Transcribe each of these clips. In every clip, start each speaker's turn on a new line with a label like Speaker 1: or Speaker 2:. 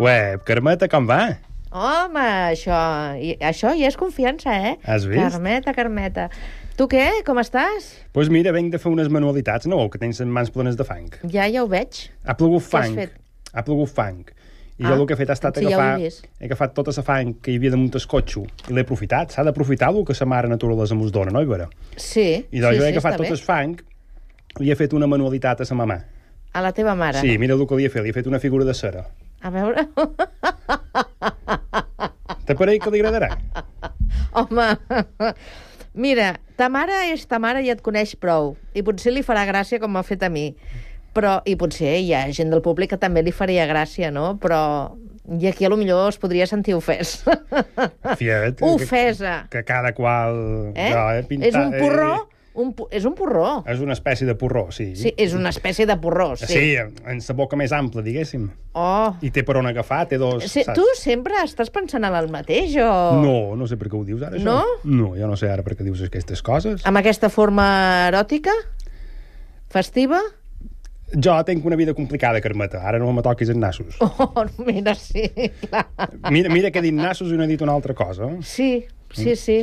Speaker 1: Web, Carmeta, com va?
Speaker 2: Home, això, i, això ja és confiança, eh?
Speaker 1: Has vist?
Speaker 2: Carmeta, Carmeta. Tu què? Com estàs?
Speaker 1: Doncs pues mira, venc de fer unes manualitats, no veu que tens les mans plenes de fang?
Speaker 2: Ja, ja ho veig.
Speaker 1: Ha plogut
Speaker 2: Què has
Speaker 1: fang.
Speaker 2: fet?
Speaker 1: Ha plogut fang. I
Speaker 2: Ah,
Speaker 1: jo el que he fet ha estat
Speaker 2: sí, ja ho he
Speaker 1: agafar,
Speaker 2: vist.
Speaker 1: he agafat tota la fang que hi havia damunt el cotxe i l'he aprofitat. S'ha d'aprofitar el que sa mare naturalesa mos dona, no, Ibera?
Speaker 2: Sí,
Speaker 1: I doncs
Speaker 2: sí,
Speaker 1: jo he
Speaker 2: sí,
Speaker 1: agafat
Speaker 2: està
Speaker 1: tot
Speaker 2: bé.
Speaker 1: el fang i he fet una manualitat a sa mamà.
Speaker 2: A la teva mare.
Speaker 1: Sí, mira el que li he fet, li he fet una figura de cera.
Speaker 2: A veure...
Speaker 1: T'aparell que li agradarà?
Speaker 2: Home... Mira, ta mare és ta mare i et coneix prou. I potser li farà gràcia com m'ha fet a mi. Però, i potser hi ha gent del públic que també li faria gràcia, no? Però... I aquí a lo millor es podria sentir ofès.
Speaker 1: Fiat.
Speaker 2: Ofesa.
Speaker 1: Que, que cada qual...
Speaker 2: Eh?
Speaker 1: Jo he pintat,
Speaker 2: és un porró,
Speaker 1: Eh,
Speaker 2: un, pu- és un porró.
Speaker 1: és una espècie de porró, sí.
Speaker 2: Sí, és una espècie de porró, sí.
Speaker 1: Sí, en sa boca més ampla, diguéssim.
Speaker 2: Oh.
Speaker 1: I té per on agafar, té dos...
Speaker 2: Sí,
Speaker 1: saps?
Speaker 2: tu sempre estàs pensant en el mateix o...
Speaker 1: No, no sé per què ho dius ara, això.
Speaker 2: No? Ah.
Speaker 1: No, jo no sé ara per què dius aquestes coses.
Speaker 2: Amb aquesta forma eròtica? Festiva?
Speaker 1: Jo tenc una vida complicada, Carmeta. Ara no me toquis en nassos.
Speaker 2: Oh, mira, sí, clar.
Speaker 1: Mira, mira que he dit nassos i no he dit una altra cosa.
Speaker 2: Sí,
Speaker 1: Mm.
Speaker 2: sí, sí.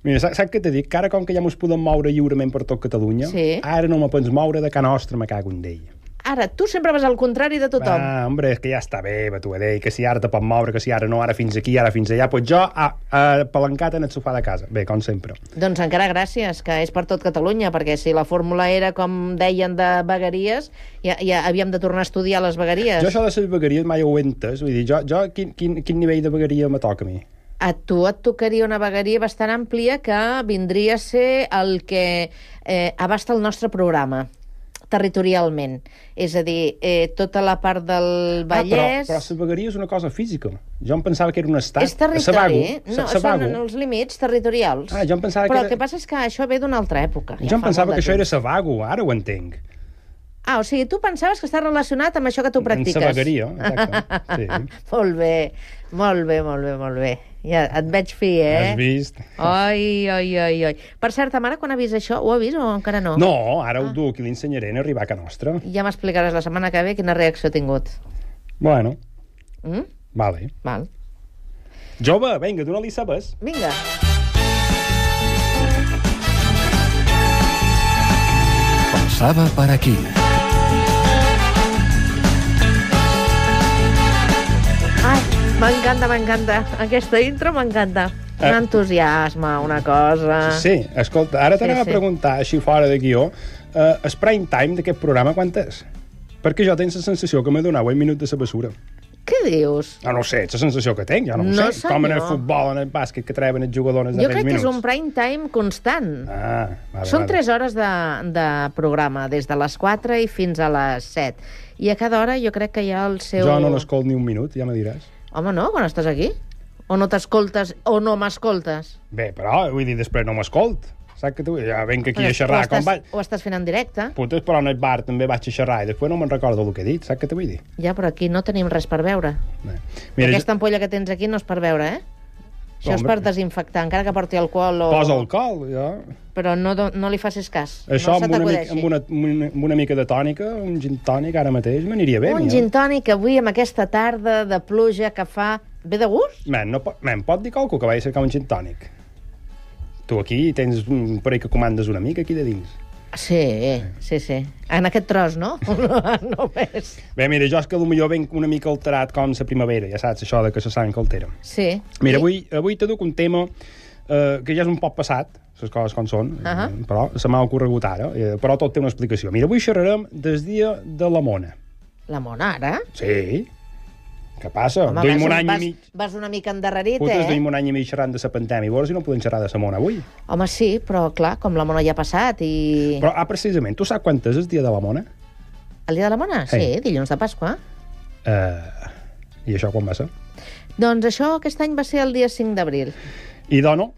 Speaker 1: Mira, saps, saps què t'he dit? Que ara com que ja mos podem moure lliurement per tot Catalunya,
Speaker 2: Sí.
Speaker 1: ara no me pots moure de Can Ostra, me cago en d'ell.
Speaker 2: Ara, tu sempre vas al contrari de tothom.
Speaker 1: Ah, hombre, és que ja està bé, batuadell, que si ara te pot moure, que si ara no, ara fins aquí, ara fins allà. Pues jo, a, a, palancat en el sofà de casa. Bé, com sempre.
Speaker 2: Doncs encara gràcies, que és per tot Catalunya, perquè si la fórmula era, com deien, de vegueries, ja, ja havíem de tornar a estudiar les vegueries.
Speaker 1: Jo això de les vegueries mai ho he entès. Vull dir, jo, jo quin, quin, quin nivell de vegueria me toca a mi?
Speaker 2: A tu et tocaria una vegueria bastant àmplia que vindria a ser el que eh, abasta el nostre programa territorialment. És a dir, eh, tota la part del Vallès...
Speaker 1: Ah, però, però la vegueria és una cosa física. Jo em pensava que era un estat.
Speaker 2: és territori, eh? no, són
Speaker 1: Sabago.
Speaker 2: en els límits territorials.
Speaker 1: Ah, jo em pensava
Speaker 2: però
Speaker 1: que era-
Speaker 2: el que passa és que això ve d'una altra època.
Speaker 1: Jo
Speaker 2: ja
Speaker 1: em
Speaker 2: fa
Speaker 1: pensava
Speaker 2: molt
Speaker 1: que
Speaker 2: de
Speaker 1: això era
Speaker 2: temps.
Speaker 1: Sabago, ara ho entenc.
Speaker 2: Ah, o sigui, tu pensaves que està relacionat amb això que tu practiques. Ah,
Speaker 1: En Sabagueria, exacte. Sí.
Speaker 2: Molt bé, molt bé, molt bé, molt bé. Ja et veig fi, eh?
Speaker 1: Has vist?
Speaker 2: Ai, ai, ai, ai. Per cert, ta mare, quan ha vist això, ho ha vist o encara no?
Speaker 1: No, ara
Speaker 2: Ah.
Speaker 1: ho duc i li ensenyaré en arribar a Can Nostra.
Speaker 2: Ja m'explicaràs la setmana que ve quina reacció ha tingut.
Speaker 1: Bueno,
Speaker 2: Mm?
Speaker 1: vale.
Speaker 2: Val.
Speaker 1: Jove, vinga, dona-li sabes.
Speaker 2: Vinga.
Speaker 3: Pasaba per aquí.
Speaker 2: Ai, m'encanta, m'encanta. Aquesta intro m'encanta. Un
Speaker 1: Eh.
Speaker 2: entusiasme, una cosa...
Speaker 1: Sí, escolta, ara t'anava
Speaker 2: Ah. sí.
Speaker 1: a preguntar, així fora de guió, eh, el prime time d'aquest programa quant és? Perquè jo tenc la sensació que m'he donat un minut de la bessura.
Speaker 2: Què dius?
Speaker 1: Ah, No, no ho sé, és la sensació que tenc, jo no, ho
Speaker 2: No,
Speaker 1: sé. Com en el
Speaker 2: senyor.
Speaker 1: futbol, en el bàsquet, que treuen els jugadors de
Speaker 2: Jo
Speaker 1: 3
Speaker 2: crec que
Speaker 1: minuts.
Speaker 2: és un prime time constant.
Speaker 1: Ah, vale,
Speaker 2: Són
Speaker 1: vale.
Speaker 2: 3 hores de, de programa, des de les 4 i fins a les 7. I a cada hora jo crec que hi ha el seu...
Speaker 1: Jo no n'escolt ni un minut, ja me diràs.
Speaker 2: Home, no, quan estàs aquí? O no t'escoltes, o no m'escoltes.
Speaker 1: Bé, però, vull dir, després no m'escolt. Saps que tu? Ja venc aquí
Speaker 2: Bueno,
Speaker 1: a xerrar,
Speaker 2: ho
Speaker 1: com vaig...
Speaker 2: estàs, Ho estàs fent en directe.
Speaker 1: Putes, però en el bar també vaig a xerrar i després no me'n recordo el que he dit, saps què t'ho vull dir?
Speaker 2: Ja, però aquí no tenim res per veure.
Speaker 1: Bé.
Speaker 2: Mira,
Speaker 1: jo-
Speaker 2: Aquesta ampolla que tens aquí no és per veure, eh? Això és
Speaker 1: Home.
Speaker 2: per desinfectar, encara que porti alcohol o...
Speaker 1: Posa alcohol, jo.
Speaker 2: Però no, do- no li facis cas.
Speaker 1: Això
Speaker 2: no
Speaker 1: amb
Speaker 2: se
Speaker 1: una, mica,
Speaker 2: t'acudeixi.
Speaker 1: amb, una, amb, una, amb una mica de tònica, un gin tònic ara mateix, m'aniria bé.
Speaker 2: Un
Speaker 1: mi, eh?
Speaker 2: gin tònic avui amb aquesta tarda de pluja que fa... Ve de gust?
Speaker 1: Man, no pot, man, pot dir qualcú que vagi a cercar un gin tònic? Tu aquí tens un parell que comandes una mica aquí de dins.
Speaker 2: Sí, sí, sí. En aquest tros, no? Només.
Speaker 1: Bé, mira, jo és que potser venc una mica alterat com la primavera, ja saps, això de que se sang que altera.
Speaker 2: Sí.
Speaker 1: Mira, avui, avui t'aduc un tema eh, que ja és un poc passat, les coses com són, uh
Speaker 2: Ahà.
Speaker 1: -huh. però se m'ha ocorregut ara, eh, però tot té una explicació. Mira, avui xerrarem del dia de la mona.
Speaker 2: La mona, ara?
Speaker 1: Sí. Què passa?
Speaker 2: Home,
Speaker 1: Duim
Speaker 2: vas,
Speaker 1: un any
Speaker 2: vas,
Speaker 1: i mig.
Speaker 2: vas una mica endarrerit,
Speaker 1: Putes,
Speaker 2: eh?
Speaker 1: duim un any i mig xerrant de la pandèmia, veure si no podem xerrar de la mona avui.
Speaker 2: Home, sí, però clar, com la mona ja ha passat i...
Speaker 1: Però, ah, precisament, tu saps quant és el dia de la mona?
Speaker 2: El dia de la mona? Sí,
Speaker 1: Sí.
Speaker 2: dilluns de Pasqua.
Speaker 1: Uh, I això quan va ser?
Speaker 2: Doncs això aquest any va ser el dia 5 d'abril.
Speaker 1: I dono,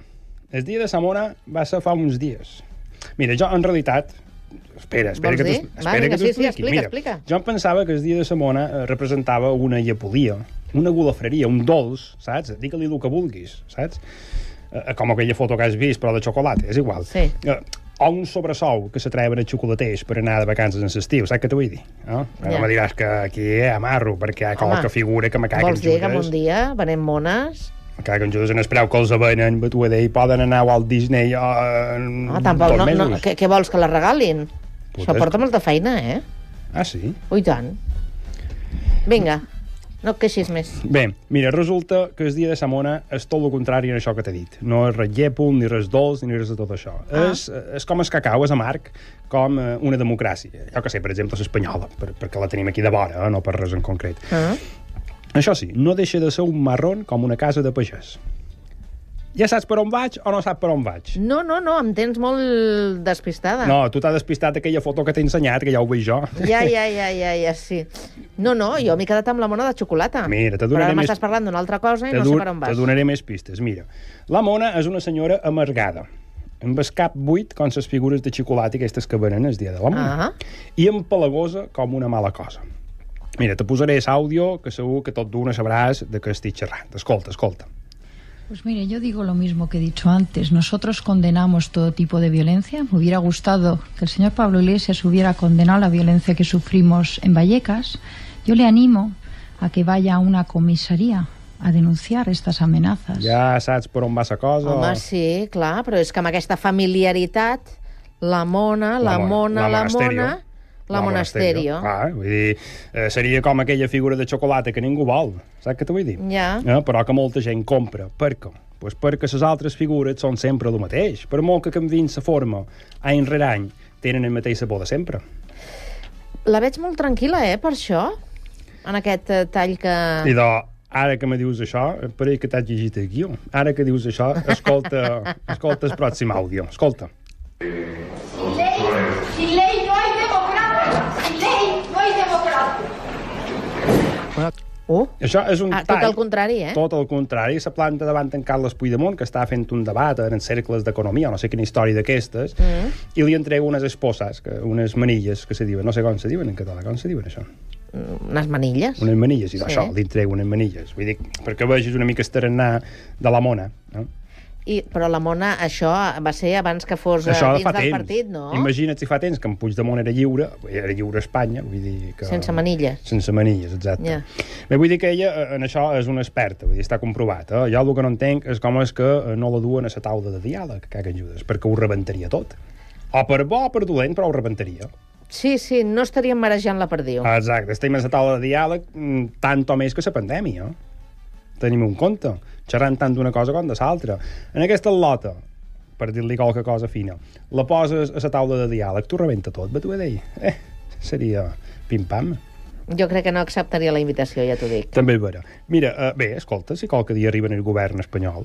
Speaker 1: el dia de Samona va ser fa uns dies. Mira, jo en realitat... Espera, espera
Speaker 2: Vols
Speaker 1: que t'ho
Speaker 2: dir? Va,
Speaker 1: espera
Speaker 2: vinga,
Speaker 1: que t'ho
Speaker 2: sí, sí,
Speaker 1: expliqui.
Speaker 2: explica,
Speaker 1: Mira,
Speaker 2: explica.
Speaker 1: Jo em pensava que el dia de Samona eh, representava una llepolia, una golafreria, un dolç, saps? eh, Digue-li el que vulguis, saps? Eh, com aquella foto que has vist, però de xocolata, és igual.
Speaker 2: Sí.
Speaker 1: Eh, o un sobresou que s'atreven a xocolaters per anar de vacances en l'estiu, saps què t'ho vull dir? No? Però
Speaker 2: Ja.
Speaker 1: no me diràs que aquí amarro, perquè hi ha
Speaker 2: Home,
Speaker 1: qualque figura que me caguen
Speaker 2: Vols dir que
Speaker 1: judes.
Speaker 2: un dia venem mones?
Speaker 1: Me caguen judes en el preu que els avenen, batuader, i poden anar a Walt Disney uh, en
Speaker 2: Ah, tampoc,
Speaker 1: dos
Speaker 2: no, no,
Speaker 1: mesos.
Speaker 2: què, què vols, que la regalin? Això
Speaker 1: Puta,
Speaker 2: porta molta feina, eh?
Speaker 1: Ah, sí?
Speaker 2: Ui, tant. Vinga, no et queixis més.
Speaker 1: Bé, mira, resulta que el dia de Samona és tot el contrari en això que t'he dit. No és res llepol, ni res dolç, ni res de tot això. Ah. És, és com el cacau, és amarg, com eh, una democràcia. Jo que sé, per exemple, l'espanyola, per, perquè la tenim aquí de vora, eh, no per res en concret.
Speaker 2: Ah.
Speaker 1: Això sí, no deixa de ser un marron com una casa de pagès. Ja saps per on vaig o no saps per on vaig?
Speaker 2: No, no, no, em tens molt despistada.
Speaker 1: No, tu t'has despistat aquella foto que t'he ensenyat, que ja ho veig jo.
Speaker 2: Ah. Ja, ja, ja, ja, ja, sí. No, no, jo m'he quedat amb la mona de xocolata.
Speaker 1: Mira, te
Speaker 2: Però
Speaker 1: donaré
Speaker 2: ara
Speaker 1: més-
Speaker 2: m'estàs parlant d'una altra cosa i
Speaker 1: Te
Speaker 2: no sé
Speaker 1: dur-
Speaker 2: per on
Speaker 1: Te
Speaker 2: vas.
Speaker 1: donaré més pistes, mira. La Mona és una senyora amargada, amb el cap buit com les figures de xocolata aquestes que venen el dia de la Mona,
Speaker 2: Ah.
Speaker 1: i empalagosa com una mala cosa. Mira, te posaré l'àudio, que segur que tot d'una sabràs de què estic xerrant. Escolta, escolta.
Speaker 4: Pues mire, yo digo lo mismo que he dicho antes. Nosotros condenamos todo tipo de violencia. Me hubiera gustado que el señor Pablo Iglesias hubiera condenado la violencia que sufrimos en Vallecas. Yo le animo a que vaya a una comisaría a denunciar estas amenazas.
Speaker 1: Ja saps per on va la cosa?
Speaker 2: Home, sí, clar, però és que amb aquesta familiaritat, la mona, la, mona, la mona, la monasterio.
Speaker 1: Clar, Ah, vull dir, eh, seria com aquella figura de xocolata que ningú vol, saps què t'ho vull dir?
Speaker 2: Ja.
Speaker 1: Eh, però que molta gent compra. Per què? Pues perquè les altres figures són sempre el mateix. Per molt que canviïn la forma, any rere any, tenen el mateix sabor de sempre.
Speaker 2: La veig molt tranquil·la, eh, per això, en aquest eh, tall que...
Speaker 1: I de, ara que me dius això, per que t'has llegit el guió, ara que dius això, escolta, escolta el pròxim àudio. Escolta.
Speaker 5: Sin ley, sin ley no hay democracia. Sin ley no hay democracia.
Speaker 2: Uh,
Speaker 1: Això és un
Speaker 2: Ah, tot
Speaker 1: tall.
Speaker 2: al contrari, eh?
Speaker 1: Tot al contrari. Se planta davant en Carles Puigdemont, que està fent un debat en cercles d'economia, no sé quina història d'aquestes, mm. i li entrega unes esposas, que, unes manilles, que se diuen, no sé com se diuen en català, com se diuen això?
Speaker 2: unes manilles.
Speaker 1: Unes manilles, i
Speaker 2: Sí.
Speaker 1: això, li entrega unes manilles. Vull dir, perquè vegis una mica estarenar de la mona, no?
Speaker 2: I, però la mona, això va ser abans que fos eh,
Speaker 1: Això de
Speaker 2: dins
Speaker 1: fa
Speaker 2: del
Speaker 1: temps.
Speaker 2: partit, no?
Speaker 1: Imagina't si fa temps que en Puigdemont era lliure, era lliure a Espanya, vull dir que...
Speaker 2: Sense manilles.
Speaker 1: Sense manilles, exacte.
Speaker 2: Ja.
Speaker 1: Bé, vull dir que ella eh, en això és una experta, vull dir, està comprovat. Eh? Jo el que no entenc és com és que eh, no la duen a la taula de diàleg, que en Judes, perquè ho rebentaria tot. O per bo o per dolent, però ho rebentaria.
Speaker 2: Sí, sí, no estaríem marejant la perdiu. Ah.
Speaker 1: Exacte, estem a la taula de diàleg mm, tant o més que la pandèmia. Tenim un compte, xerrant tant d'una cosa com de l'altra. En aquesta lota, per dir-li qualque cosa fina, la poses a la taula de diàleg, tu rebenta tot, va tu a dir. Eh, seria pim-pam.
Speaker 2: Jo crec que no acceptaria la invitació, ja t'ho dic.
Speaker 1: També és vera. Mira, eh, bé, escolta, si qualque dia arriben el govern espanyol,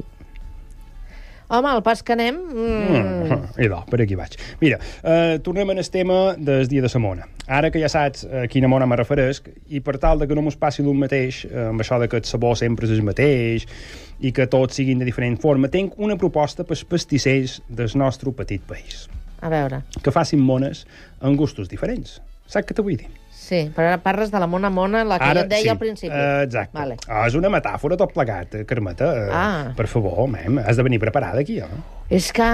Speaker 2: Home, al pas que anem... Mm,
Speaker 1: Mm. Idò, per aquí vaig. Mira, eh, tornem en el tema del dia de la mona. Ara que ja saps eh, quina mona me referesc, i per tal de que no mos passi d'un mateix, eh, amb això de que el sabor sempre és el mateix i que tots siguin de diferent forma, tenc una proposta pels pastissers del nostre petit país.
Speaker 2: a veure,
Speaker 1: Que facin mones amb gustos diferents. Saps què t'ho vull dir?
Speaker 2: sí, però ara parles de la mona mona, la que jo et deia al principi.
Speaker 1: Eh, exacte.
Speaker 2: Vale.
Speaker 1: Ah, és una metàfora tot plegat, eh, Carmeta. Eh,
Speaker 2: Ah.
Speaker 1: Per favor, mem, has de venir preparada aquí, eh?
Speaker 2: És que...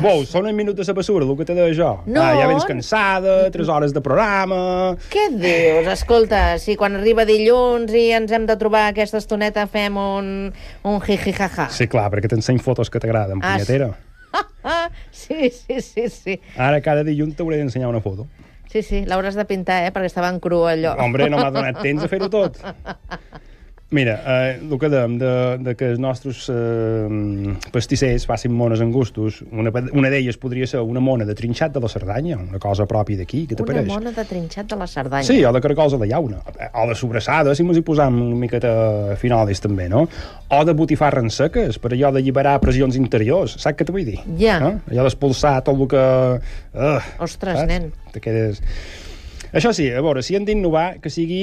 Speaker 1: Bou, són un minut de la basura, el que t'he de jo.
Speaker 2: No.
Speaker 1: Ah, ja vens cansada, 3 hores de programa...
Speaker 2: Què dius? Escolta, si quan arriba dilluns i ens hem de trobar aquesta estoneta fem un, un hi-hi-ha-ha.
Speaker 1: Sí, clar, perquè t'enseny fotos que t'agraden,
Speaker 2: Ah, sí.
Speaker 1: punyetera.
Speaker 2: Ah, sí, sí, sí, sí.
Speaker 1: Ara cada dilluns t'hauré d'ensenyar una foto.
Speaker 2: Sí, sí, l'hauràs de pintar, eh? Perquè estava en cru allò.
Speaker 1: Hombre, no m'ha donat temps a fer-ho tot. Mira, eh, el que dèiem de, de que els nostres eh, pastissers facin mones en gustos, una, una d'elles podria ser una mona de trinxat de la Cerdanya, una cosa pròpia d'aquí, que
Speaker 2: Una
Speaker 1: t'apareix.
Speaker 2: mona de trinxat de la Cerdanya.
Speaker 1: Sí, o de caracols a la llauna. O de sobrassada, si mos hi posam una miqueta finolis també, no? O de botifarra en seques, per allò d'alliberar pressions interiors. Saps què t'ho vull dir?
Speaker 2: Ja.
Speaker 1: No? Allò d'expulsar tot el que... Uh,
Speaker 2: Ostres, nen.
Speaker 1: Te quedes... Això sí, a veure, si hem d'innovar, que sigui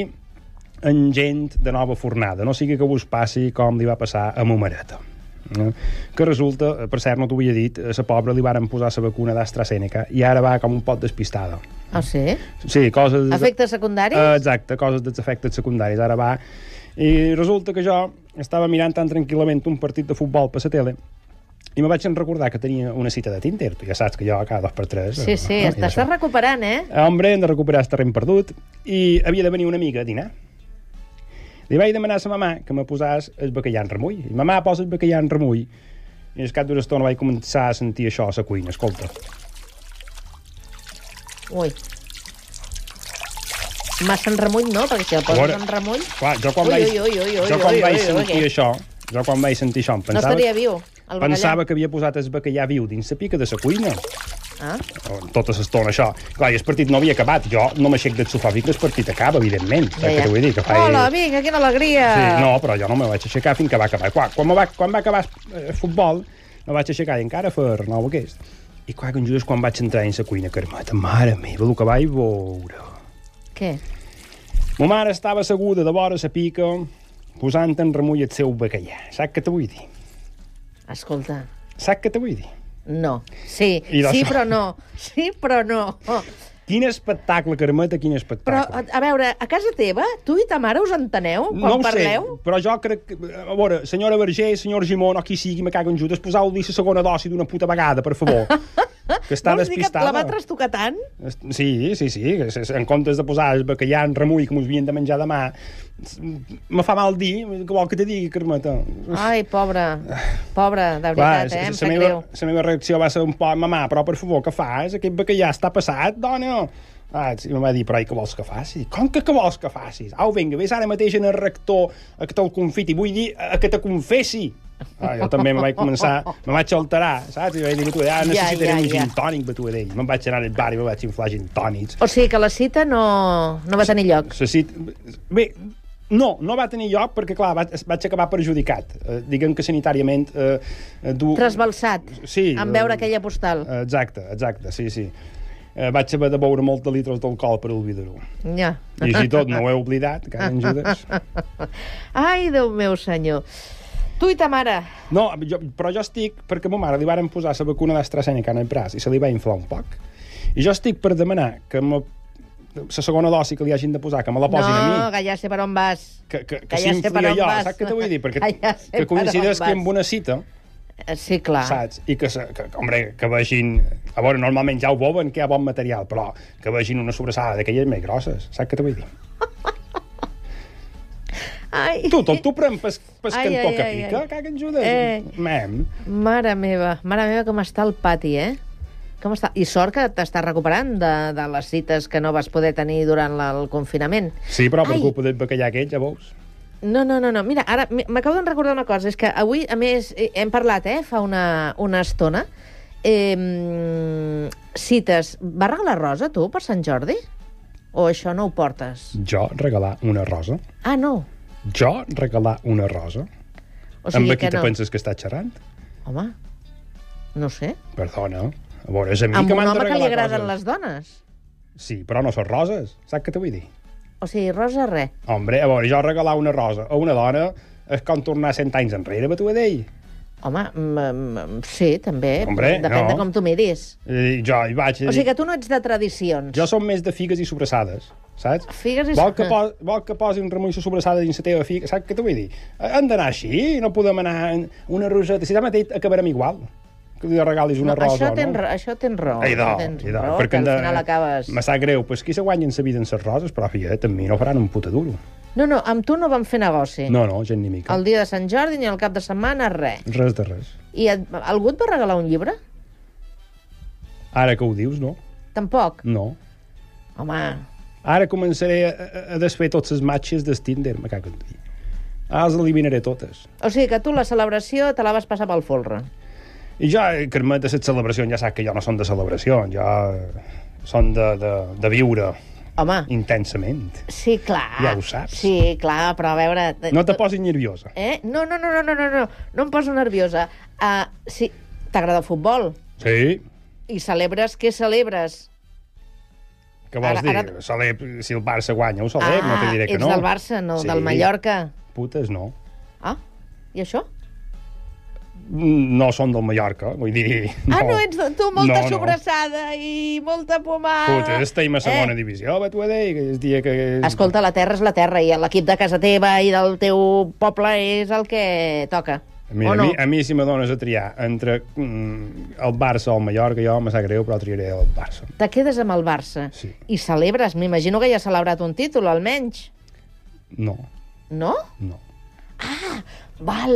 Speaker 1: en gent de nova fornada, no sigui que vos passi com li va passar a Momareta. Eh? que resulta, eh, per cert, no t'ho havia dit, a la pobra li varen posar la vacuna d'AstraZeneca i ara va com un pot despistada.
Speaker 2: Ah, sí?
Speaker 1: Sí, coses...
Speaker 2: Efectes secundaris?
Speaker 1: Eh, Exacte, coses dels efectes secundaris. Ara va... I resulta que jo estava mirant tan tranquil·lament un partit de futbol per la tele I me vaig recordar que tenia una cita de Tinder. Tu ja saps que jo cada dos per tres...
Speaker 2: Sí, sí,
Speaker 1: eh,
Speaker 2: t'estàs
Speaker 1: i això.
Speaker 2: recuperant, eh?
Speaker 1: Hombre, hem de recuperar el terreny perdut. I havia de venir una amiga a dinar. Li vaig demanar a sa mamà que me posàs el bacallà en remull. I mamà posa el bacallà en remull. I al cap d'una estona vaig començar a sentir això a la cuina. Escolta,
Speaker 2: Ui. Massa en remull, no? Perquè si el poses
Speaker 1: Veure,
Speaker 2: en remull...
Speaker 1: clar, jo quan
Speaker 2: Ui,
Speaker 1: vaig,
Speaker 2: ui, ui, ui, ui,
Speaker 1: jo quan
Speaker 2: ui,
Speaker 1: vaig
Speaker 2: ui, ui,
Speaker 1: sentir
Speaker 2: què?
Speaker 1: això, jo quan vaig sentir això, em
Speaker 2: No
Speaker 1: pensava,
Speaker 2: estaria viu, el bacallà.
Speaker 1: pensava que havia posat el bacallà viu dins la pica de la cuina.
Speaker 2: Ah?
Speaker 1: On Tota l'estona, això. Clar, i el partit no havia acabat. Jo no m'aixec del sofà fins que el partit acaba, evidentment. Ja, ja. Que vull dir, que faig...
Speaker 2: Hola, vinga, quina alegria!
Speaker 1: Sí, no, però jo no me vaig aixecar fins que va acabar. Quan, quan, me va, quan va acabar eh, el futbol, me vaig aixecar i encara fer nou aquest. I clar, que en Judes, quan vaig entrar dins la cuina, Carmeta, mare meva, el que vaig veure...
Speaker 2: Què?
Speaker 1: Ma mare estava asseguda de vora sa pica, posant en remull el seu bacallà. Saps què te vull dir?
Speaker 2: Escolta,
Speaker 1: Saps què te vull dir?
Speaker 2: no. Sí,
Speaker 1: I de
Speaker 2: sí
Speaker 1: so-
Speaker 2: però no. Sí però no. Oh.
Speaker 1: Quin espectacle, Carmeta, quin
Speaker 2: Però,
Speaker 1: espectacle.
Speaker 2: a, a veure, a casa teva, tu i ta mare us enteneu quan
Speaker 1: ho
Speaker 2: parleu?
Speaker 1: sé, però jo crec que... A veure, senyora Verger, senyor Gimón, o qui sigui, me cago en Judes, posau li la segona dosi d'una puta vegada, per favor. que està
Speaker 2: Vols dir que
Speaker 1: despistada.
Speaker 2: la va trastocar tant?
Speaker 1: Est- Sí, sí, sí. que se- se- En comptes de posar el bacallà en remull que mos havien de menjar demà, s- me fa mal dir, que vol que te digui, Carmeta?
Speaker 2: Ai, pobre, pobre, de veritat, eh? Em
Speaker 1: la,
Speaker 2: sap
Speaker 1: meva,
Speaker 2: greu.
Speaker 1: la meva reacció va ser un poc, mamà, però per favor, què fas? Aquest bacallà està passat, dona. Ah, i em va dir, però i què vols que faci? Com que què vols que facis? Au, vinga, vés ara mateix en el rector a que te'l confiti, vull dir, a que te confessi. Ah, jo també me vaig començar, me vaig alterar, saps? I vaig dir, tu, ja
Speaker 2: Ja,
Speaker 1: necessitaré
Speaker 2: ja,
Speaker 1: un
Speaker 2: ja.
Speaker 1: gin tònic, tu, d'ell. Me'n vaig anar al bar i me vaig inflar gin tònics.
Speaker 2: O sigui que la cita no, no va tenir lloc.
Speaker 1: Se cit... Bé, no, no va tenir lloc perquè, clar, vaig, vaig acabar perjudicat. Eh, diguem que sanitàriament... Eh, eh, du...
Speaker 2: Trasbalsat,
Speaker 1: Sí,
Speaker 2: en
Speaker 1: eh,
Speaker 2: veure aquella postal.
Speaker 1: Eh, Exacte, exacte, sí, sí. Eh, Vaig haver de beure molts de litres d'alcohol per oblidar-ho.
Speaker 2: Ja.
Speaker 1: I així tot, no ho he oblidat, que ara en Judes.
Speaker 2: Ai, Déu meu senyor. Tu i ta mare.
Speaker 1: No, jo, però jo estic... Perquè a ma mare li varen posar la vacuna d'AstraZeneca en el braç i se li va inflar un poc. I jo estic per demanar que me, la segona dosi que li hagin de posar, que me la posin a mi.
Speaker 2: no, que ja sé per on vas.
Speaker 1: que, que, que,
Speaker 2: Que
Speaker 1: que
Speaker 2: ja sé per
Speaker 1: s'inflia
Speaker 2: on
Speaker 1: jo,
Speaker 2: vas.
Speaker 1: saps què te vull dir? Perquè
Speaker 2: Que ja sé
Speaker 1: que coincideix
Speaker 2: per on
Speaker 1: que
Speaker 2: vas.
Speaker 1: amb una cita,
Speaker 2: Eh, Sí, clar.
Speaker 1: saps? I que, se- que, que, hombre, que vegin... A veure, normalment ja ho veuen, que hi ha bon material, però que vegin una sobrassada d'aquelles més grosses, saps què te vull dir?
Speaker 2: Ai,
Speaker 1: Tu, tot t'ho pren pas, pas
Speaker 2: Ai,
Speaker 1: cantó
Speaker 2: ai,
Speaker 1: que
Speaker 2: ai,
Speaker 1: pica,
Speaker 2: ai.
Speaker 1: que que ajudes.
Speaker 2: Eh.
Speaker 1: Mem.
Speaker 2: mare meva, mare meva, com està el pati, eh? Com està? I sort que t'estàs recuperant de, de les cites que no vas poder tenir durant la, el confinament.
Speaker 1: Sí, però per
Speaker 2: Ai.
Speaker 1: culpa del bacallà aquell, ja veus.
Speaker 2: No, no, no, no. Mira, ara m- m'acabo de recordar una cosa. És que avui, a més, eh, hem parlat, eh, fa una, una estona. Eh, mm, cites. Vas regalar rosa, tu, per Sant Jordi? O això no ho portes?
Speaker 1: Jo regalar una rosa.
Speaker 2: Ah, no.
Speaker 1: Jo regalar una rosa.
Speaker 2: O
Speaker 1: amb
Speaker 2: sigui
Speaker 1: aquí
Speaker 2: que
Speaker 1: te
Speaker 2: no.
Speaker 1: penses que està xerrant?
Speaker 2: Home, no ho sé.
Speaker 1: Perdona. A veure, és a mi
Speaker 2: Amb
Speaker 1: que
Speaker 2: un
Speaker 1: m'han de
Speaker 2: home que li
Speaker 1: regalar
Speaker 2: agraden
Speaker 1: coses.
Speaker 2: les dones.
Speaker 1: Sí, però no són roses. Saps què te vull dir?
Speaker 2: O sigui, rosa, res.
Speaker 1: Hombre, a veure, jo regalar una rosa a una dona és com tornar 100 anys enrere, tu a d'ell.
Speaker 2: Home, mm, mm, sí, també.
Speaker 1: Hombre,
Speaker 2: Depèn
Speaker 1: no.
Speaker 2: de com tu miris.
Speaker 1: I Eh, jo hi vaig...
Speaker 2: O sigui que tu no ets de tradicions.
Speaker 1: Jo som més de figues i sobrassades, saps?
Speaker 2: Figues i-
Speaker 1: Vol que, po vol que posi un remull de sobrassada dins la teva figa, saps què t'ho vull dir? Hem d'anar així, no podem anar en una roseta. Si demà mateix acabarem igual, que li regalis una
Speaker 2: No,
Speaker 1: rosa.
Speaker 2: això, tens,
Speaker 1: no?
Speaker 2: ra- això tens raó.
Speaker 1: Ai, do,
Speaker 2: això tens
Speaker 1: ai, do,
Speaker 2: raó,
Speaker 1: perquè
Speaker 2: que
Speaker 1: hem
Speaker 2: al
Speaker 1: de-
Speaker 2: final acabes...
Speaker 1: Me sap greu, pues qui se guanyen sa vida en ses roses, però fia, també no faran un puta duro.
Speaker 2: No, no, amb tu no vam fer negoci.
Speaker 1: No, no, gent ni mica.
Speaker 2: El dia de Sant Jordi ni el cap de setmana, res.
Speaker 1: Res de res.
Speaker 2: I et, algú et va regalar un llibre?
Speaker 1: Ara que ho dius, no?
Speaker 2: Tampoc?
Speaker 1: No.
Speaker 2: Home,
Speaker 1: Ara començaré a, a- a desfer totes les matxes del Tinder, me cago en dir. Ara les eliminaré totes.
Speaker 2: o sigui que tu la celebració te la vas passar pel folre.
Speaker 1: I jo, eh, Carmet, de les celebracions, ja saps que jo no són de celebració, jo són de, de, de viure
Speaker 2: Home,
Speaker 1: intensament.
Speaker 2: sí, clar.
Speaker 1: Ja ho saps.
Speaker 2: Sí, clar, però a veure...
Speaker 1: No te posis nerviosa.
Speaker 2: Eh? No, no, no, no, no, no, no, no em poso nerviosa. Uh, sí, t'agrada el futbol
Speaker 1: Sí,
Speaker 2: i celebres què celebres?
Speaker 1: que vols
Speaker 2: Ara-
Speaker 1: dir?
Speaker 2: ara-
Speaker 1: Celeb, si el Barça guanya, ho celeb, no te diré que
Speaker 2: Ah, ets
Speaker 1: no.
Speaker 2: del Barça, no,
Speaker 1: Sí.
Speaker 2: del Mallorca.
Speaker 1: Putes, no.
Speaker 2: Ah, i això?
Speaker 1: Mm, No són del Mallorca, vull dir...
Speaker 2: Ah, no, ets de- tu molta
Speaker 1: No, no.
Speaker 2: sobrassada i molta pomada.
Speaker 1: Putes, estem
Speaker 2: Eh.
Speaker 1: a segona divisió, va tu a dir, que és dia que...
Speaker 2: Escolta, la terra és la terra i l'equip de casa teva i del teu poble és el que toca.
Speaker 1: Mira,
Speaker 2: O
Speaker 1: a, mi,
Speaker 2: no?
Speaker 1: a mi si me dones a triar entre mm, el Barça o el Mallorca, jo me sap greu, però triaré el Barça.
Speaker 2: Te quedes amb el Barça
Speaker 1: Sí.
Speaker 2: i celebres. M'imagino que ja has celebrat un títol, almenys.
Speaker 1: No,
Speaker 2: No?
Speaker 1: no.
Speaker 2: Val,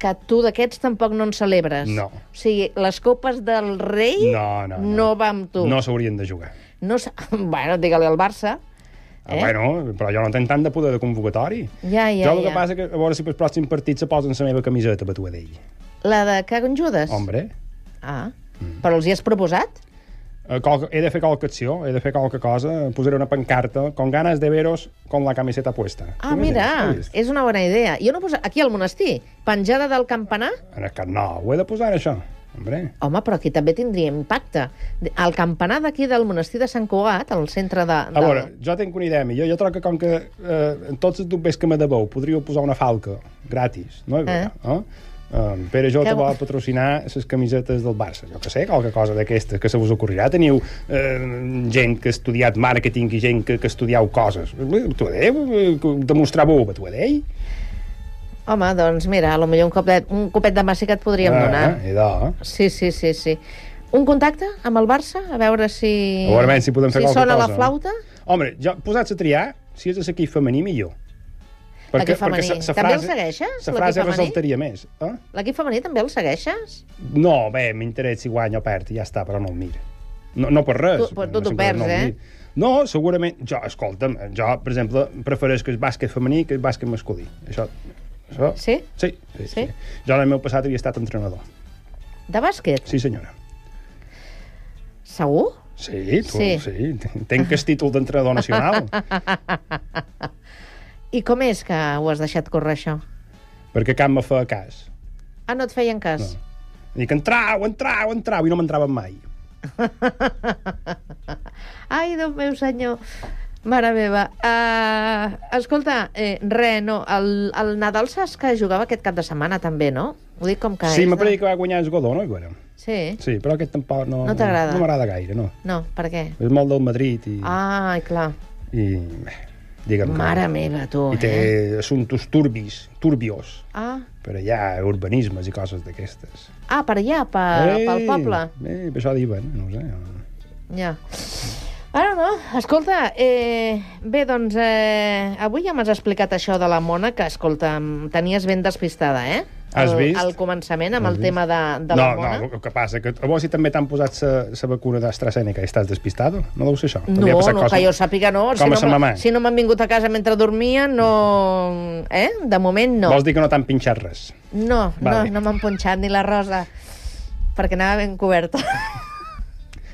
Speaker 2: que tu d'aquests tampoc no en celebres.
Speaker 1: No.
Speaker 2: O sigui, les copes del rei
Speaker 1: No, no, no.
Speaker 2: no va amb tu.
Speaker 1: No s'haurien de jugar.
Speaker 2: No s- bueno, digue-li al Barça.
Speaker 1: Ah, bueno, però jo no tenc tant de poder de convocatori.
Speaker 2: Eh? Ja, ja,
Speaker 1: jo el
Speaker 2: ja.
Speaker 1: que passa que, a veure si pel pròxim partit se posen la meva camiseta per tu a d'ell.
Speaker 2: La de Cagan Judas?
Speaker 1: Hombre,
Speaker 2: Ah, mm. però els hi has proposat?
Speaker 1: eh, qual- he de fer qualque acció, he de fer qualque cosa, posaré una pancarta, con ganas de veros con la camiseta puesta.
Speaker 2: Ah,
Speaker 1: Tu m'ho
Speaker 2: mira,
Speaker 1: tens, has vist?
Speaker 2: és una bona idea. Jo no posa... Aquí al monestir, penjada del campanar?
Speaker 1: En el Camp Nou, ho he de posar, això. Hombre,
Speaker 2: Home, però aquí també tindria impacte. El campanar d'aquí del monestir de Sant Cugat, al centre de...
Speaker 1: a
Speaker 2: de...
Speaker 1: veure, jo tinc una idea millor. Jo trobo que com que eh, en tots els dubbers que me deveu podríeu posar una falca, gratis, no? Eh? eh? Um, Pere Jota
Speaker 2: Ah. Que bo.
Speaker 1: vol patrocinar les camisetes del Barça. Jo que sé, qualque cosa d'aquestes que se vos ocorrirà. Teniu eh, gent que ha estudiat màrqueting i gent que, que estudieu coses. Eh, Tu a Déu, eh, que demostrar-ho, tu a Déu.
Speaker 2: Home, doncs mira, a lo millor un, cop de... un copet de massa que et podríem donar.
Speaker 1: Eh, idò, eh?
Speaker 2: Sí, sí, sí, sí. Un contacte amb el Barça? A veure si...
Speaker 1: A veure si podem fer
Speaker 2: si
Speaker 1: qualque
Speaker 2: sona
Speaker 1: cosa.
Speaker 2: la flauta?
Speaker 1: Home, jo, posats a triar, si és de l'equip femení, millor.
Speaker 2: L'equip femení. També el segueixes,
Speaker 1: La
Speaker 2: l'equip
Speaker 1: frase
Speaker 2: femení?
Speaker 1: ressaltaria més. Eh?
Speaker 2: L'equip femení també el segueixes?
Speaker 1: No, bé, m'interessa si guanya o perd, i ja està, però no el mire. No, no per res.
Speaker 2: Tu- però tu t'ho
Speaker 1: simplement
Speaker 2: perds,
Speaker 1: el
Speaker 2: eh?
Speaker 1: miro. No, segurament... Jo, escolta'm, jo, per exemple, prefereix que el bàsquet femení que el bàsquet masculí. Això... això...
Speaker 2: Sí?
Speaker 1: Sí, sí,
Speaker 2: Sí?
Speaker 1: sí. Jo en el meu passat havia estat entrenador.
Speaker 2: De bàsquet?
Speaker 1: Sí, senyora.
Speaker 2: Segur?
Speaker 1: Sí, tu,
Speaker 2: Sí.
Speaker 1: sí. sí. Tenc el títol d'entrenador nacional.
Speaker 2: I com és que ho has deixat córrer, això?
Speaker 1: perquè cap me fa cas.
Speaker 2: Ah, no et feien cas?
Speaker 1: No. Dic, entrau, entrau, entrau, i no m'entraven mai.
Speaker 2: Ai, Déu meu senyor. Mare meva. Uh, escolta, eh, re, no, el, el Nadal saps que jugava aquest cap de setmana també, no? Ho dic com que
Speaker 1: sí,
Speaker 2: és...
Speaker 1: m'ha
Speaker 2: de...
Speaker 1: que va guanyar el Godó, no? I Bueno,
Speaker 2: Sí?
Speaker 1: sí, però aquest tampoc no...
Speaker 2: No t'agrada? Ah,
Speaker 1: No m'agrada gaire, no.
Speaker 2: No, per què?
Speaker 1: És molt del Madrid i...
Speaker 2: Ai, clar.
Speaker 1: i bé, digue'm
Speaker 2: Mare
Speaker 1: que...
Speaker 2: meva, tu,
Speaker 1: I té
Speaker 2: eh?
Speaker 1: assumptos turbis, turbios,
Speaker 2: Ah,
Speaker 1: per allà, urbanismes i coses d'aquestes.
Speaker 2: ah, per allà, per, pel poble.
Speaker 1: Eh, per això diuen, no ho sé. no.
Speaker 2: Ja. Ara no, escolta, eh, bé, doncs eh, avui ja m'has explicat això de la mona, que, escolta, em tenies ben despistada, eh?
Speaker 1: Has
Speaker 2: Al-
Speaker 1: vist?
Speaker 2: Al començament, amb
Speaker 1: Has
Speaker 2: el
Speaker 1: vist?
Speaker 2: tema de,
Speaker 1: no,
Speaker 2: de la mona.
Speaker 1: no, el que passa, que a vos si també t'han posat la vacuna d'AstraZeneca i estàs despistado? No deu ser això?
Speaker 2: No,
Speaker 1: T'havia passat
Speaker 2: no, que jo sàpiga no.
Speaker 1: Com a
Speaker 2: si
Speaker 1: sa
Speaker 2: no,
Speaker 1: mamà.
Speaker 2: m'ha- si no m'han vingut a casa mentre dormia, no... Eh? De moment no.
Speaker 1: Vols dir que no t'han pinxat res?
Speaker 2: No,
Speaker 1: Vale.
Speaker 2: no, no m'han punxat ni la rosa, perquè anava ben coberta.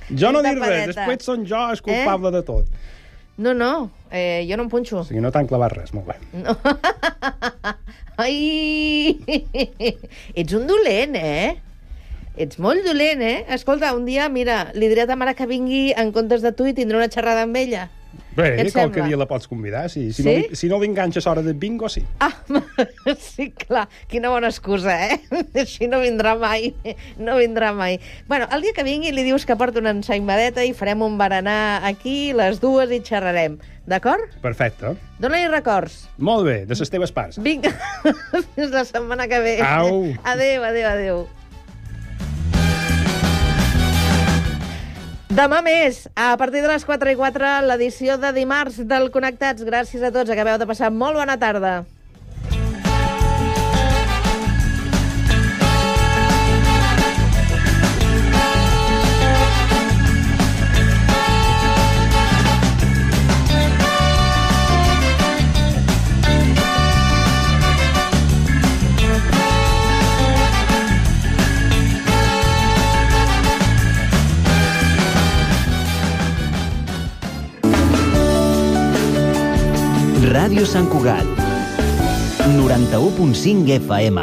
Speaker 1: Jo no
Speaker 2: Pinta
Speaker 1: dic res,
Speaker 2: paleta. Eh?
Speaker 1: després són jo el culpable de tot.
Speaker 2: No, no, eh, jo no em punxo.
Speaker 1: O sigui, no t'han clavat res, molt bé.
Speaker 2: Mm. Ai! Ets un dolent, eh? Ets molt dolent, eh? Escolta, un dia, mira, li diré a ta mare que vingui en comptes de tu i tindré una xerrada amb ella.
Speaker 1: Bé,
Speaker 2: Què et
Speaker 1: qualque
Speaker 2: sembla?
Speaker 1: dia la pots convidar. Si, si,
Speaker 2: Sí?
Speaker 1: no, li- si no l'enganxes a hora de bingo, sí.
Speaker 2: Ah, sí, clar, quina bona excusa, eh? Així no vindrà mai, no vindrà mai. Bueno, el dia que vingui li dius que porta una ensaimadeta i farem un berenar aquí, les dues, i xerrarem, d'acord?
Speaker 1: Perfecte.
Speaker 2: Dóna-li records.
Speaker 1: Molt bé, de les teves parts.
Speaker 2: Vinga, fins la setmana que ve.
Speaker 1: Au.
Speaker 2: Adéu, adéu, adéu. Demà més, a partir de les 4 i 4, l'edició de dimarts del Connectats. Gràcies a tots, acabeu de passar molt bona tarda.
Speaker 6: Ràdio Sant Cugat. 91.5 FM.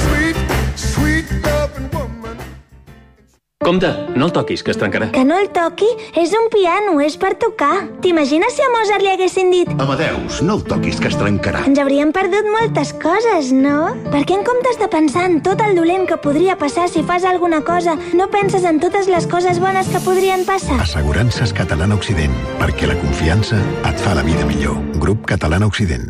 Speaker 7: Compte, no el toquis, que es trencarà.
Speaker 8: Que no el toqui? És un piano, és per tocar. T'imagines si a Mozart li haguessin dit
Speaker 3: Amadeus, no ho toquis, que es trencarà.
Speaker 8: ens hauríem perdut moltes coses, no? Perquè en comptes de pensar en tot el dolent que podria passar si fas alguna cosa, no penses en totes les coses bones que podrien passar.
Speaker 3: Assegurances Catalana Occident, perquè la confiança et fa la vida millor. Grup Catalana Occident.